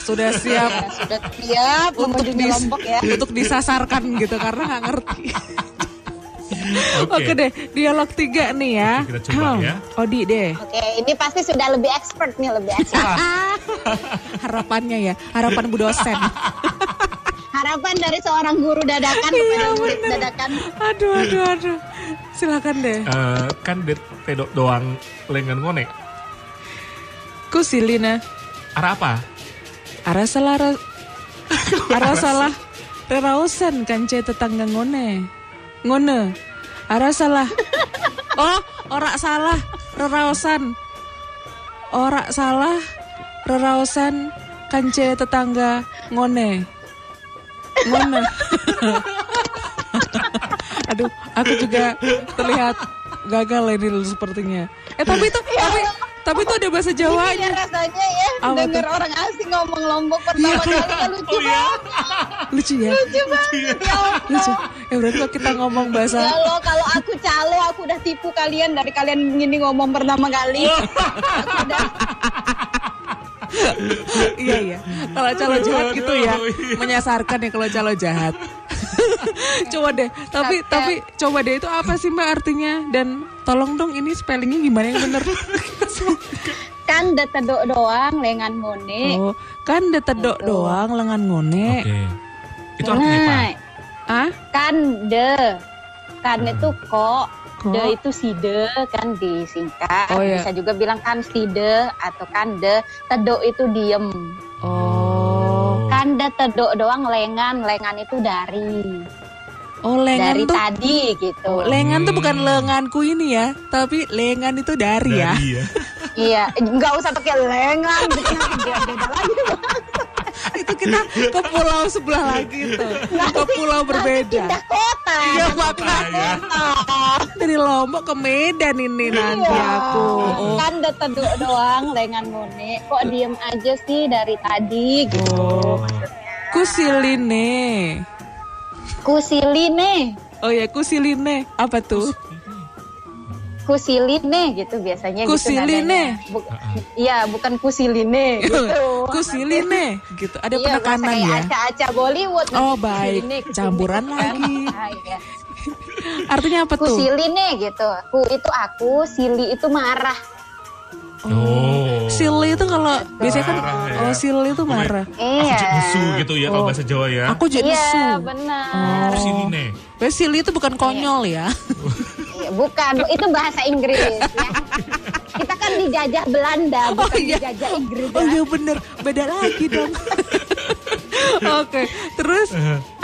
S3: sudah siap
S2: Ya, sudah siap
S3: untuk
S2: menuju
S3: dis-
S2: Lombok ya.
S3: untuk disasarkan gitu karena nggak ngerti (laughs) oke deh dialog tiga nih ya
S1: Oke, kita coba ya.
S3: Odi deh
S2: Oke, ini pasti sudah lebih expert nih, lebih expert.
S3: harapannya ya harapan bu
S1: (laughs)
S3: dosen
S2: (laughs) Harapan dari seorang guru dadakan kepada murid dadakan.
S3: aduh aduh aduh silakan deh
S1: Eh, kan det tedok doang lengan ngone.
S3: kusilina
S1: Arah apa?
S3: arah salah arah, arah salah rerausan kance tetangga ngone ngone arah salah oh ora salah rerausan ora salah rerausan kance tetangga ngone ngone (laughs) aduh aku juga terlihat gagal ini sepertinya eh tapi itu tapi tapi itu ada bahasa
S2: Ini
S3: Jawanya
S2: rasanya ya,
S3: Apa
S2: dengar
S3: tuh?
S2: orang asing ngomong Lombok pertama kali kan lucu banget.
S3: lucu ya
S2: Lucu banget. Ya Allah.
S3: lucu ya berarti kalau kita ngomong bahasa
S2: Kalau kalau aku calo, aku udah tipu kalian dari kalian ini ngomong pertama kali. aku udah
S3: iya iya kalau calo jahat gitu ya
S1: iya.
S3: menyasarkan ya kalau calo
S1: (laughs)
S3: jahat coba deh tapi tapi coba deh itu apa sih mbak artinya dan tolong dong ini spellingnya gimana yang
S2: (laughs)
S3: bener
S2: kan detedok doang lengan ngone.
S3: oh kan detedok doang lengan ngone
S1: Oke. Itu artinya apa?
S2: Nah,
S3: ah
S2: kan de kan
S3: Hmm.
S2: itu kok
S3: Kok.
S2: de itu side kan disingkat
S3: Oh, iya.
S2: bisa juga bilang kan side atau kan de tedok itu diem
S3: oh
S2: kan de tedok doang lengan lengan itu dari
S3: oh lengan
S2: dari
S3: tuh
S2: tadi gitu
S3: oh, lengan tuh
S1: Hmm.
S3: bukan lenganku ini ya tapi lengan itu dari ya
S1: Dari ya.
S2: iya nggak usah pakai lengan beda beda lagi
S3: (laughs) itu kita ke pulau sebelah lagi tuh ke (laughs) pulau berbeda
S2: pindah kota
S3: Ya makanya dari Lombok ke Medan ini nanti
S2: Iya.
S3: aku. Oh.
S2: kan de tedok doang lengan ngone kok diem aja sih dari tadi gitu
S3: Oh. Kusiline.
S2: kusiline
S3: Oh ya kusiline apa tuh?
S2: kusiline gitu biasanya gitu
S3: Kusiline.
S2: nadanya. Bu- iya bukan kusiline
S3: (laughs)
S2: gitu
S3: kusiline gitu.
S2: Iya,
S3: Ada penekanan
S2: berasa
S3: ya.
S2: kayak aca-aca Bollywood
S3: Oh, baik. Campuran lagi.
S2: Ah, iya.
S3: Artinya apa tuh?
S2: kusiline gitu ku itu aku sili itu marah
S1: Oh.
S3: Sili itu kalau biasanya kan
S1: Marah ya.
S3: oh sili itu marah.
S1: Aku Ah, jadi
S2: iya
S1: nesu gitu ya kalau bahasa Jawa ya.
S3: Aku jadi Oh. su.
S2: iya benar
S1: Kusiline.
S3: Wes, Sili itu bukan konyol ya.
S2: Iya, bukan Bu, itu bahasa Inggris ya. kita kan dijajah Belanda bukan
S3: iya.
S2: dijajah Inggris
S3: Oh iya bener, beda lagi dong. Oke, terus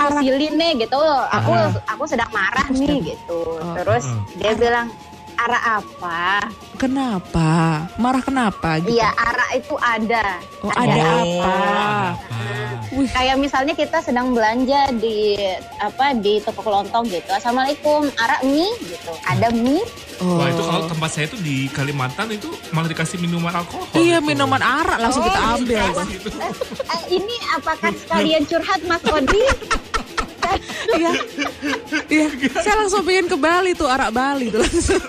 S2: Arsilin nih gitu aku
S1: Ah.
S2: aku sedang marah nih gitu
S3: Oh,
S2: terus
S1: ah.
S2: dia bilang arah apa
S3: kenapa? Marah kenapa gitu?
S2: iya arah itu ada
S3: Oh, ada
S1: Oh,
S3: apa?
S1: apa?
S3: Wih,
S2: kayak misalnya kita sedang belanja di apa di toko kelontong gitu assalamualaikum arak mie gitu ada
S3: (laughs)
S2: mie
S3: oh.
S1: Wah itu kalau tempat saya itu di Kalimantan itu malah dikasih minuman alkohol. gitu.
S3: Iya,
S1: itu.
S3: minuman arak langsung
S2: Oh,
S3: kita
S2: iya.
S3: ambil.
S1: Dikasih itu.
S2: Eh, ini apakah sekalian curhat Mas Odi?
S3: Iya. Iya, saya langsung pengen ke Bali tuh, arak Bali tuh langsung.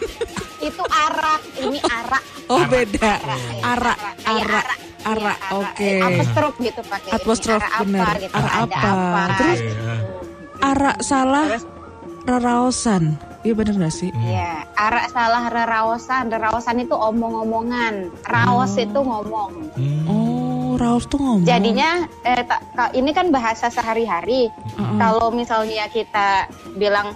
S2: itu arak, ini arak.
S3: Oh, beda.
S1: Oh.
S3: Arak,
S2: Kayak
S3: arak, arak.
S2: Iya,
S3: Oke.
S2: Eh, Apostrof gitu pakai. ini,
S3: Apostrof,
S2: arak
S3: bener.
S2: Apa, gitu.
S3: Arak
S2: Ada
S3: apa.
S2: apa.
S3: Terus?
S1: Iya.
S2: gitu.
S3: Arak salah
S2: Terus?
S3: raraosan. Iya bener gak sih?
S2: Iya, arak salah reraosan. Reraosan itu omong-omongan. Raos itu ngomong.
S1: Hmm.
S3: Oh, raos tuh ngomong.
S2: Jadinya eh, ta- ka- ini kan bahasa sehari-hari. Kalau misalnya kita bilang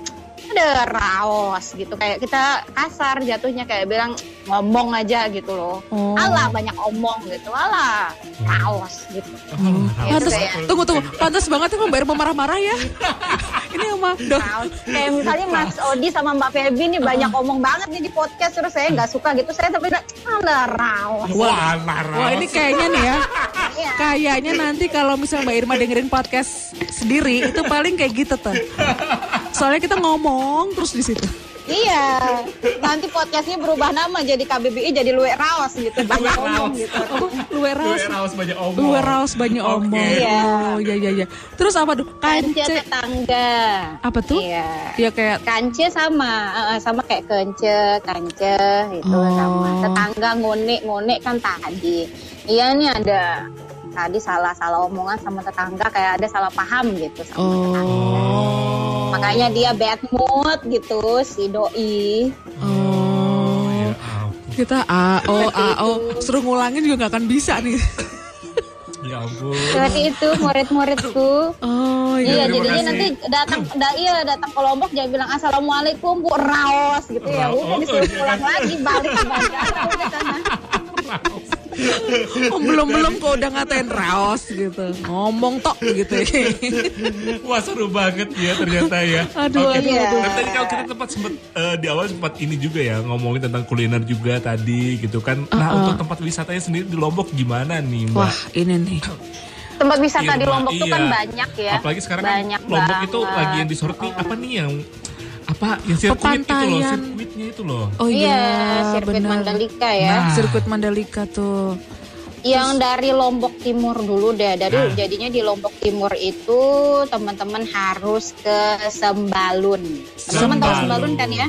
S2: ada raos gitu kayak kita kasar jatuhnya kayak bilang ngomong aja gitu loh.
S3: Oh.
S2: Alah banyak omong gitu. Alah raos gitu.
S1: Oh,
S3: Pantes,
S2: Gitu ya.
S3: tunggu tunggu, pantes banget ya Mbak Irma marah-marah
S2: (laughs)
S3: ya. Ini sama dok.
S2: Raos. Kayak misalnya Mas Odi sama Mbak Feby nih banyak omong banget nih di podcast terus saya nggak suka gitu. Saya tapi bilang, alah raos.
S1: Wah, larang.
S3: Wah ini kayaknya nih ya,
S2: Iya.
S3: kayaknya nanti kalau misalnya Mbak Irma dengerin podcast sendiri itu paling kayak gitu tuh. Soalnya kita ngomong terus di situ.
S2: Iya, nanti podcastnya berubah nama jadi KBBI jadi Luwek Raos gitu. Banyak omong gitu.
S3: Oh, luwe raos,
S1: Gue raus banyak omong.
S3: luwe raos banyak omong.
S2: Iya.
S3: Oh iya iya iya. Terus apa tuh?
S2: Kence
S3: Kance.
S2: tetangga.
S3: Apa tuh?
S2: Iya.
S3: Ya kayak
S2: Kance sama, eh, sama kayak kence, kance gitu
S3: Oh.
S2: sama. Tetangga ngonek, ngonek kan tadi. Iya nih ada tadi salah-salah omongan sama tetangga kayak ada salah paham gitu sama tetangga.
S1: Oh.
S2: Makanya dia bad mood gitu si doi.
S1: Oh,
S3: oh
S1: ya ampun.
S3: kita AO AO suruh ngulangin juga nggak akan bisa nih.
S1: Ya ampun.
S2: Seperti itu murid-muridku.
S3: Oh
S2: Iya,
S1: Iya, terima
S2: jadinya
S1: kasih.
S2: nanti datang, da, iya datang ke Lombok jangan bilang assalamualaikum bu raos gitu ya,
S1: Raos,
S2: udah disuruh
S1: iya. (laughs)
S2: pulang lagi balik gitu kan. ke bandara udah sana.
S3: Oh, belum belum kok udah ngatain raos gitu ngomong tok gitu
S1: Wah seru banget ya ternyata ya.
S3: (laughs) Aduh,
S1: Oke.
S2: aduh, aduh.
S1: Tapi tadi kalau kita tempat sempet eh, di awal sempat ini juga ya ngomongin tentang kuliner juga tadi gitu kan. Nah untuk tempat wisatanya sendiri di Lombok gimana nih mbak?
S3: Uh-uh. wah ini nih
S2: Tempat wisata di
S1: Irma,
S2: Lombok tuh kan
S1: iya.
S2: banyak ya.
S1: Apalagi sekarang kan
S2: banyak
S1: Lombok itu
S2: banget.
S1: lagi yang disorot nih apa nih yang apa yang sirkuit itu loh,
S3: Pepantaian.
S1: sirkuitnya itu loh.
S3: oh
S2: Iya,
S3: iya
S2: sirkuit
S3: benar.
S2: Mandalika ya.
S1: Nah.
S3: sirkuit Mandalika tuh
S2: Yang dari Lombok Timur dulu deh. Dari
S1: Nah.
S2: jadinya di Lombok Timur itu teman-teman harus ke Sembalun. Teman-teman tahu Sembalun kan ya?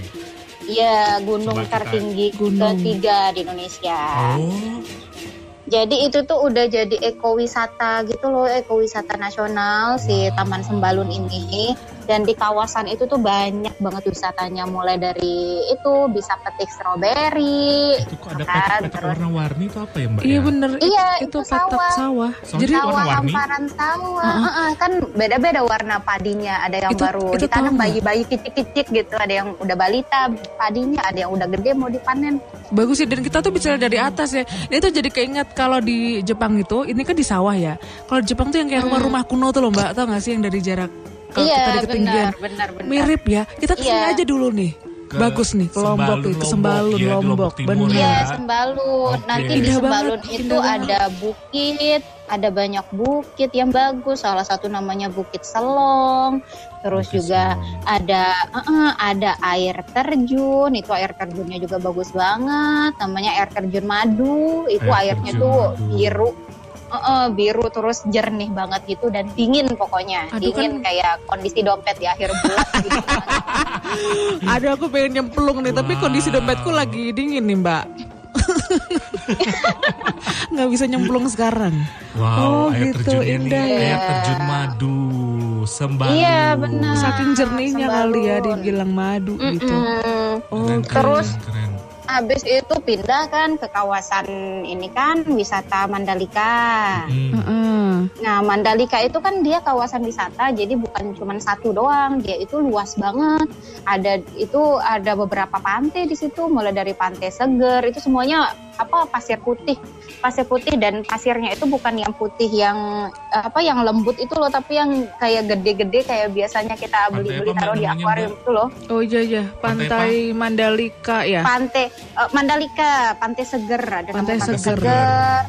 S2: Iya, gunung
S1: Coba kita-
S2: tertinggi
S3: Gunung.
S2: ketiga di Indonesia.
S1: Oh,
S2: Jadi itu tuh udah jadi ekowisata gitu loh, ekowisata nasional si Taman Sembalun ini. Dan di kawasan itu tuh banyak banget wisatanya, mulai dari itu bisa petik stroberi,
S1: itu kok ada
S2: kan,
S1: petak-petak
S2: terus-
S1: warna-warni itu apa ya mbak?
S3: iya
S1: ya?
S3: bener
S2: Iya,
S3: itu,
S2: itu
S3: petak
S2: sawah.
S3: sawah,
S1: Soalnya
S3: jadi
S1: itu
S2: sawah
S1: warna-warni.
S2: hamparan sawah, Heeh, kan beda-beda warna padinya. Ada yang
S3: Itu-
S2: baru
S3: itu
S2: ditanam
S3: tahu nggak?
S2: bayi-bayi kicik-kicik gitu, ada yang udah balita padinya, ada yang udah gede mau dipanen.
S3: bagus ya dan kita tuh bicara dari atas ya Dan itu jadi keinget kalau di Jepang itu ini kan di sawah ya kalau di Jepang tuh yang kayak rumah-rumah kuno tuh loh mbak tau gak sih yang dari jarak kalau kita
S2: Hmm.
S3: di
S2: iya,
S3: ketinggian
S2: benar, benar, benar.
S3: mirip ya kita kesini
S2: Iya.
S3: aja dulu nih
S1: Ke
S3: bagus nih ke Lombok
S1: Sembalun,
S3: itu
S1: Lombok. Iya,
S3: sembalun
S1: di Lombok
S3: Lombok,
S1: Timur
S3: bener
S1: ya.
S2: Iya, Sembalun.
S1: Oke.
S2: Nanti di
S3: Indah banget,
S2: Sembalun itu
S3: indah banget.
S2: ada bukit, ada banyak bukit yang bagus. Salah satu namanya Bukit Selong. Terus
S1: Bukit
S2: juga
S1: Selong.
S2: ada eh, ada air terjun. Itu air terjunnya juga bagus banget. Namanya air terjun madu. Itu
S1: Air
S2: airnya
S1: terjun
S2: tuh
S1: madu.
S2: biru. Eh, eh, biru terus jernih banget gitu dan dingin pokoknya
S3: Aduh,
S2: dingin
S3: kan-
S2: kayak kondisi dompet di akhir bulan
S3: (laughs)
S2: gitu.
S3: Aduh aku pengen nyemplung nih, tapi
S1: Wow.
S3: kondisi dompetku lagi dingin nih mbak. (laughs) Nggak bisa nyemplung sekarang.
S1: Wow,
S3: Oh,
S1: air
S3: gitu,
S1: terjunnya
S3: indah
S1: nih,
S3: ya.
S1: air terjun madu, sembalun.
S2: Iya, benar.
S3: Saking jernihnya
S2: Sembalun.
S3: kali ya dibilang madu gitu.
S2: Mm-mm.
S3: Oh,
S1: Keren, keren,
S2: Terus,
S1: keren.
S2: Habis itu pindah kan ke kawasan ini kan wisata Mandalika.
S1: Hmm.
S3: heeh.
S2: Nah, Mandalika itu kan dia kawasan wisata, jadi bukan cuma satu doang, dia itu luas banget. Ada itu ada beberapa pantai di situ, mulai dari pantai Seger, itu semuanya apa pasir putih pasir putih dan pasirnya itu bukan yang putih yang eh, apa yang lembut itu loh tapi yang kayak gede-gede kayak biasanya
S1: Pantai
S2: kita
S1: apa,
S2: beli-beli
S1: Mbak,
S2: taruh di
S1: namanya,
S2: akuarium itu loh
S4: Oh iya iya,
S1: Pantai
S4: Pantai Mandalika ya.
S2: pantai eh, Mandalika pantai seger ada namanya
S4: Pantai
S2: pantai
S4: Seger.
S2: seger.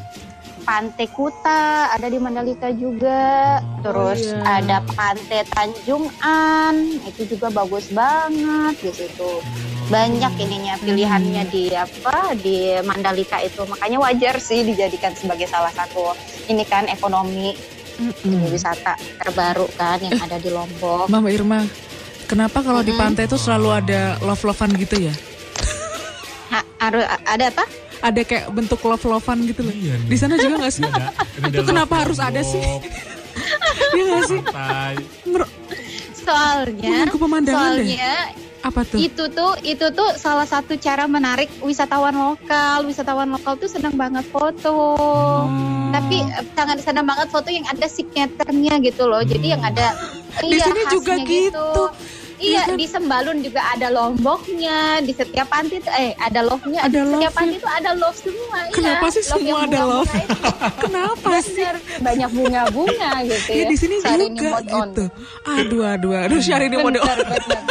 S2: Pantai Kuta ada di Mandalika juga, terus
S4: iya.
S2: ada Pantai Tanjung An, itu juga bagus banget di situ. Banyak ininya
S4: Hmm.
S2: pilihannya di apa di Mandalika itu, makanya wajar sih dijadikan sebagai salah satu ini kan ekonomi
S4: Mm-mm.
S2: wisata terbaru kan yang ada di Lombok.
S3: Mama Irma, kenapa kalau di
S2: Mm-mm.
S3: pantai itu selalu ada love-lovean gitu ya?
S2: Ha- harus- ada apa?
S3: Ada kayak bentuk love-lovean gitu loh.
S1: Iya nih.
S3: Di sana juga nggak sih?
S1: Ini ada- ini
S3: Itu
S1: ada
S3: kenapa
S1: love
S3: harus ada
S1: lombok,
S3: sih?
S1: (laughs)
S3: Iya nggak sih?
S1: pantai.
S3: Mer-
S2: Soalnya,
S3: Mengganggu pemandangan deh.
S2: soalnya
S3: Apa tuh?
S2: itu tuh itu tuh salah satu cara menarik wisatawan lokal wisatawan lokal tuh senang banget foto
S3: Hmm.
S2: tapi eh, sangat senang banget foto yang ada signaturnya gitu loh jadi yang ada
S3: Hmm.
S2: iya,
S3: Di sini juga
S2: khasnya
S3: gitu.
S2: Iya,
S3: Iya kan?
S2: di Sembalun juga ada lomboknya, di setiap panti tuh- eh ada love-nya, di
S3: Ada
S2: setiap
S3: love-nya.
S2: panti itu ada love semua.
S3: Kenapa
S2: iya,
S3: sih
S2: love yang
S3: semua ada
S2: bunga-bunga
S3: love?
S2: itu.
S3: (laughs) Kenapa sih?
S2: Bener, banyak bunga-bunga gitu ya.
S3: Ya di sini
S2: Saat ini
S3: juga
S2: mode on.
S3: gitu. Aduh, aduh, aduh, Syahrini mode
S2: Bener,
S3: on.
S2: bener.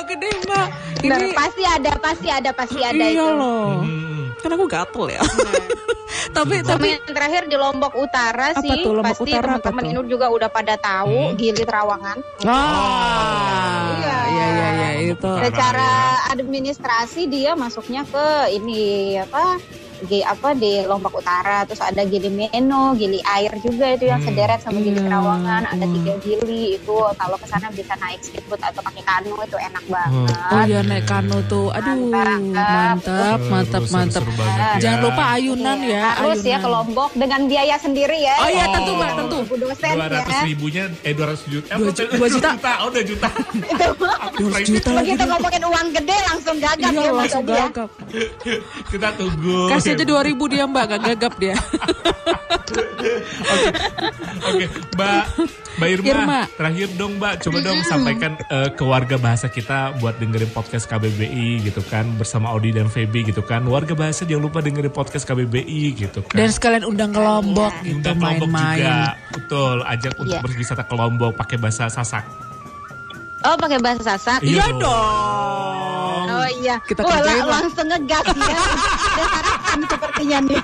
S3: Oke deh, Mbak.
S2: Bener,
S3: Ini
S2: pasti ada, pasti ada, pasti ada
S3: iya
S2: itu.
S3: loh.
S1: Hmm.
S3: Kan aku gatel ya.
S2: Nah.
S3: (laughs) tapi
S2: Tapi
S3: tapi
S2: yang terakhir di Lombok Utara
S3: Apa
S2: sih,
S3: tuh, Lombok
S2: pasti
S3: Utara apa
S2: teman-teman
S3: tuh?
S2: Inul juga udah pada tahu
S1: Hmm.
S2: Gili Trawangan.
S3: ah
S2: Iya.
S3: iya iya iya itu.
S1: Parah,
S2: Secara
S1: iya.
S2: administrasi dia masuknya ke ini apa? G apa di Lombok Utara, terus ada Gili Meno, Gili Air juga itu yang
S1: Hmm.
S2: sederet sama Gili
S3: Iya.
S2: Trawangan, ada
S3: Wah.
S2: tiga Gili itu kalau ke sana bisa naik speedboat atau pakai kano itu enak
S1: Hmm.
S2: banget.
S3: Oh iya naik kano tuh. Aduh, mantap, mantap,
S1: Seru,
S3: mantap.
S1: seru banget ya.
S3: Jangan lupa ayunan
S2: Iya,
S3: ya,
S2: harus ya ke
S3: ayunan.
S2: Lombok dengan biaya sendiri ya.
S3: Oh iya, tentu,
S1: Mbak,
S3: tentu.
S2: Bu dosen
S1: dua
S2: ya.
S1: ratus ribunya eh dua ratus juta eh,
S3: Dua
S1: apa,
S3: ju- dua juta.
S1: oh dua juta (laughs)
S3: 200 juta lagi
S2: Begitu
S3: tuh.
S2: ngomongin uang gede langsung gagap
S3: gitu.
S2: ya
S3: Iya
S2: Mas
S3: langsung
S2: Odi ya.
S3: gagap.
S1: kita tunggu
S3: Kasih aja 2000 dia mbak, gak gagap dia.
S1: (laughs) oke mbak mbak Irma,
S3: Irma.
S1: terakhir dong mbak coba dong sampaikan eh, ke warga bahasa kita buat dengerin podcast KBBI gitu kan bersama Odi dan Feby gitu kan warga bahasa jangan lupa dengerin podcast KBBI gitu kan
S3: Dan sekalian undang ke Lombok gitu
S1: Undang kelompok juga
S3: main-main.
S1: betul ajak untuk
S2: Iya.
S1: berwisata ke Lombok pakai bahasa Sasak
S2: Oh pakai bahasa Sasak.
S1: Iya dong.
S2: Oh iya.
S3: Kita
S2: Wah, la-
S3: kerjain lah.
S2: langsung ngegas ya.
S3: (laughs)
S2: Ada harapan sepertinya nih.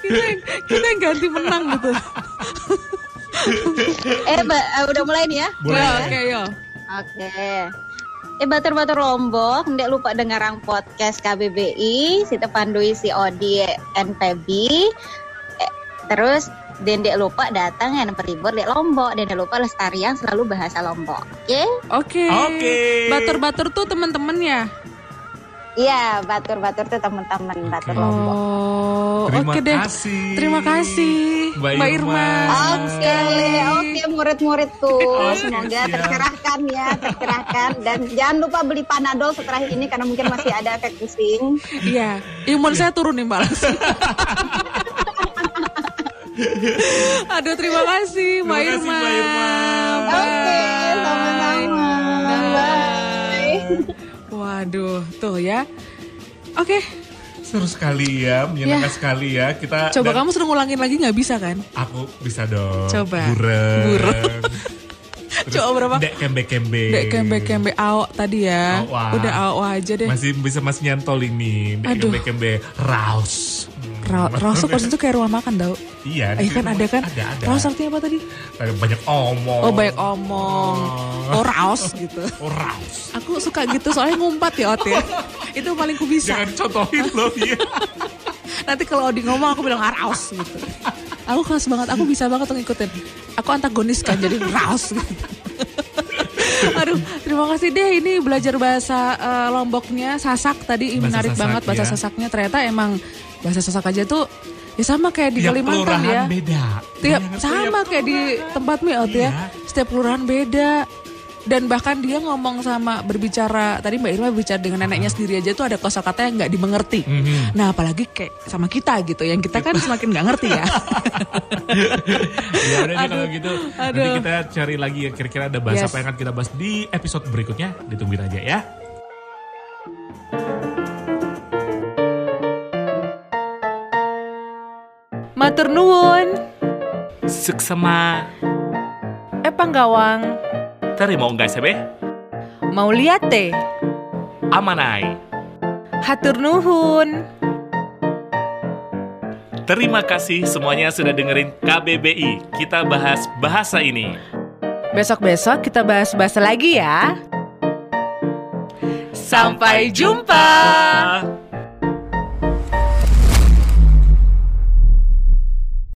S3: Kita yang, kita yang ganti menang gitu.
S1: (laughs)
S2: Eh Mbak, eh, udah mulai nih ya.
S1: Boleh.
S3: Ya, Oke yo.
S2: Oke. Eh batur-batur Lombok, ndek lupa dengarang podcast KBBI, si Pandui, si Odi, NPB. Eh, terus Dendek lupa datang yang peribor dek Lombok, Dendek lupa lestarian selalu bahasa Lombok. Oke?
S3: Oke.
S1: Oke.
S3: Batur-batur tuh temen-temen ya.
S2: Iya, batur-batur tuh teman-teman batur
S1: Oke.
S2: Lombok.
S3: Oh,
S1: terima
S3: oke deh.
S1: kasih
S3: Terima kasih
S1: Mbak
S3: Mbak
S1: Irma.
S3: Irma.
S2: Oke, oke murid-muridku.
S1: Oke,
S2: Semoga
S1: siap.
S2: tercerahkan ya, tercerahkan. Dan jangan lupa beli Panadol setelah ini karena mungkin masih ada efek pusing.
S3: Iya, imun saya turun nih Mbak
S1: (laughs)
S3: langsung. Aduh, terima kasih Mbak
S1: Terima kasih, Mbak
S3: Irma.
S1: Irma.
S3: Bye.
S2: Oke, sama-sama. Bye.
S3: Waduh, tuh ya. Oke,
S1: Seru sekali ya, menyenangkan sekali ya. Kita
S3: Iya.
S1: dan
S3: coba kamu suruh ngulangin lagi nggak bisa kan?
S1: aku bisa dong.
S3: Coba.
S1: Buren.
S3: Buren.
S1: Terus
S3: (laughs) Coba berapa?
S1: Dek kembe-kembe.
S3: Dek kembe-kembe awok tadi ya.
S1: Awak.
S3: Udah awok aja deh.
S1: Masih bisa masih nyantol ini. Dek
S3: Aduh.
S1: kembe-kembe raus. Hmm.
S3: Ra- Raus tuh itu kayak rumah makan tau.
S1: Iya. di
S3: Eh kan
S1: rumah
S3: ada kan?
S1: Ada, ada.
S3: Raus artinya apa tadi?
S1: Ada banyak omong.
S3: Oh, banyak omong. Oh, raus gitu.
S1: Oh, raus.
S3: Aku suka gitu soalnya ngumpat ya (laughs) Ot ya. Itu paling ku bisa.
S1: Jangan contohin loh
S3: (laughs)
S1: ya.
S3: Nanti kalau Odi ngomong aku bilang "Ah, raus gitu. Aku khas banget, aku bisa banget tuh ngikutin. Aku antagonis kan jadi raus gitu. Aduh, terima kasih deh ini belajar bahasa eh, Lomboknya Sasak tadi ih,
S1: Bahasa
S3: menarik
S1: Sasak,
S3: banget bahasa
S1: ya.
S3: Sasaknya ternyata emang bahasa Sasak aja tuh ya sama kayak di
S1: Tiap
S3: Kalimantan
S1: kelurahan
S3: ya.
S1: beda.
S3: Tiap
S1: Bayangin,
S3: sama
S1: Iya, tiap
S3: kayak di tempatmu ya, Ot ya.
S1: Iya.
S3: Setiap kelurahan beda. Dan bahkan dia ngomong sama berbicara tadi Mbak Irma bicara dengan neneknya sendiri aja tuh ada kosakata yang nggak dimengerti.
S1: Mhm. Iya.
S3: Nah apalagi kayak sama kita gitu, yang kita kan semakin nggak ngerti
S1: (laughs)
S3: ya.
S1: Ya udah deh
S3: Aduh,
S1: kalau gitu. Nanti
S3: aduh.
S1: kita cari lagi ya kira-kira ada bahasa
S3: Yes.
S1: apa yang akan kita bahas di episode berikutnya. Ditungguin aja ya.
S3: Matur nuwun.
S1: Seksama.
S3: Eh panggawang,
S1: Terima nggak sebe?
S3: mau lihat teh.
S1: Amanai.
S3: Hatur nuhun.
S1: Terima kasih semuanya sudah dengerin KBBI. Kita bahas bahasa ini.
S3: Besok-besok kita bahas bahasa lagi ya. Sampai jumpa.
S1: jumpa.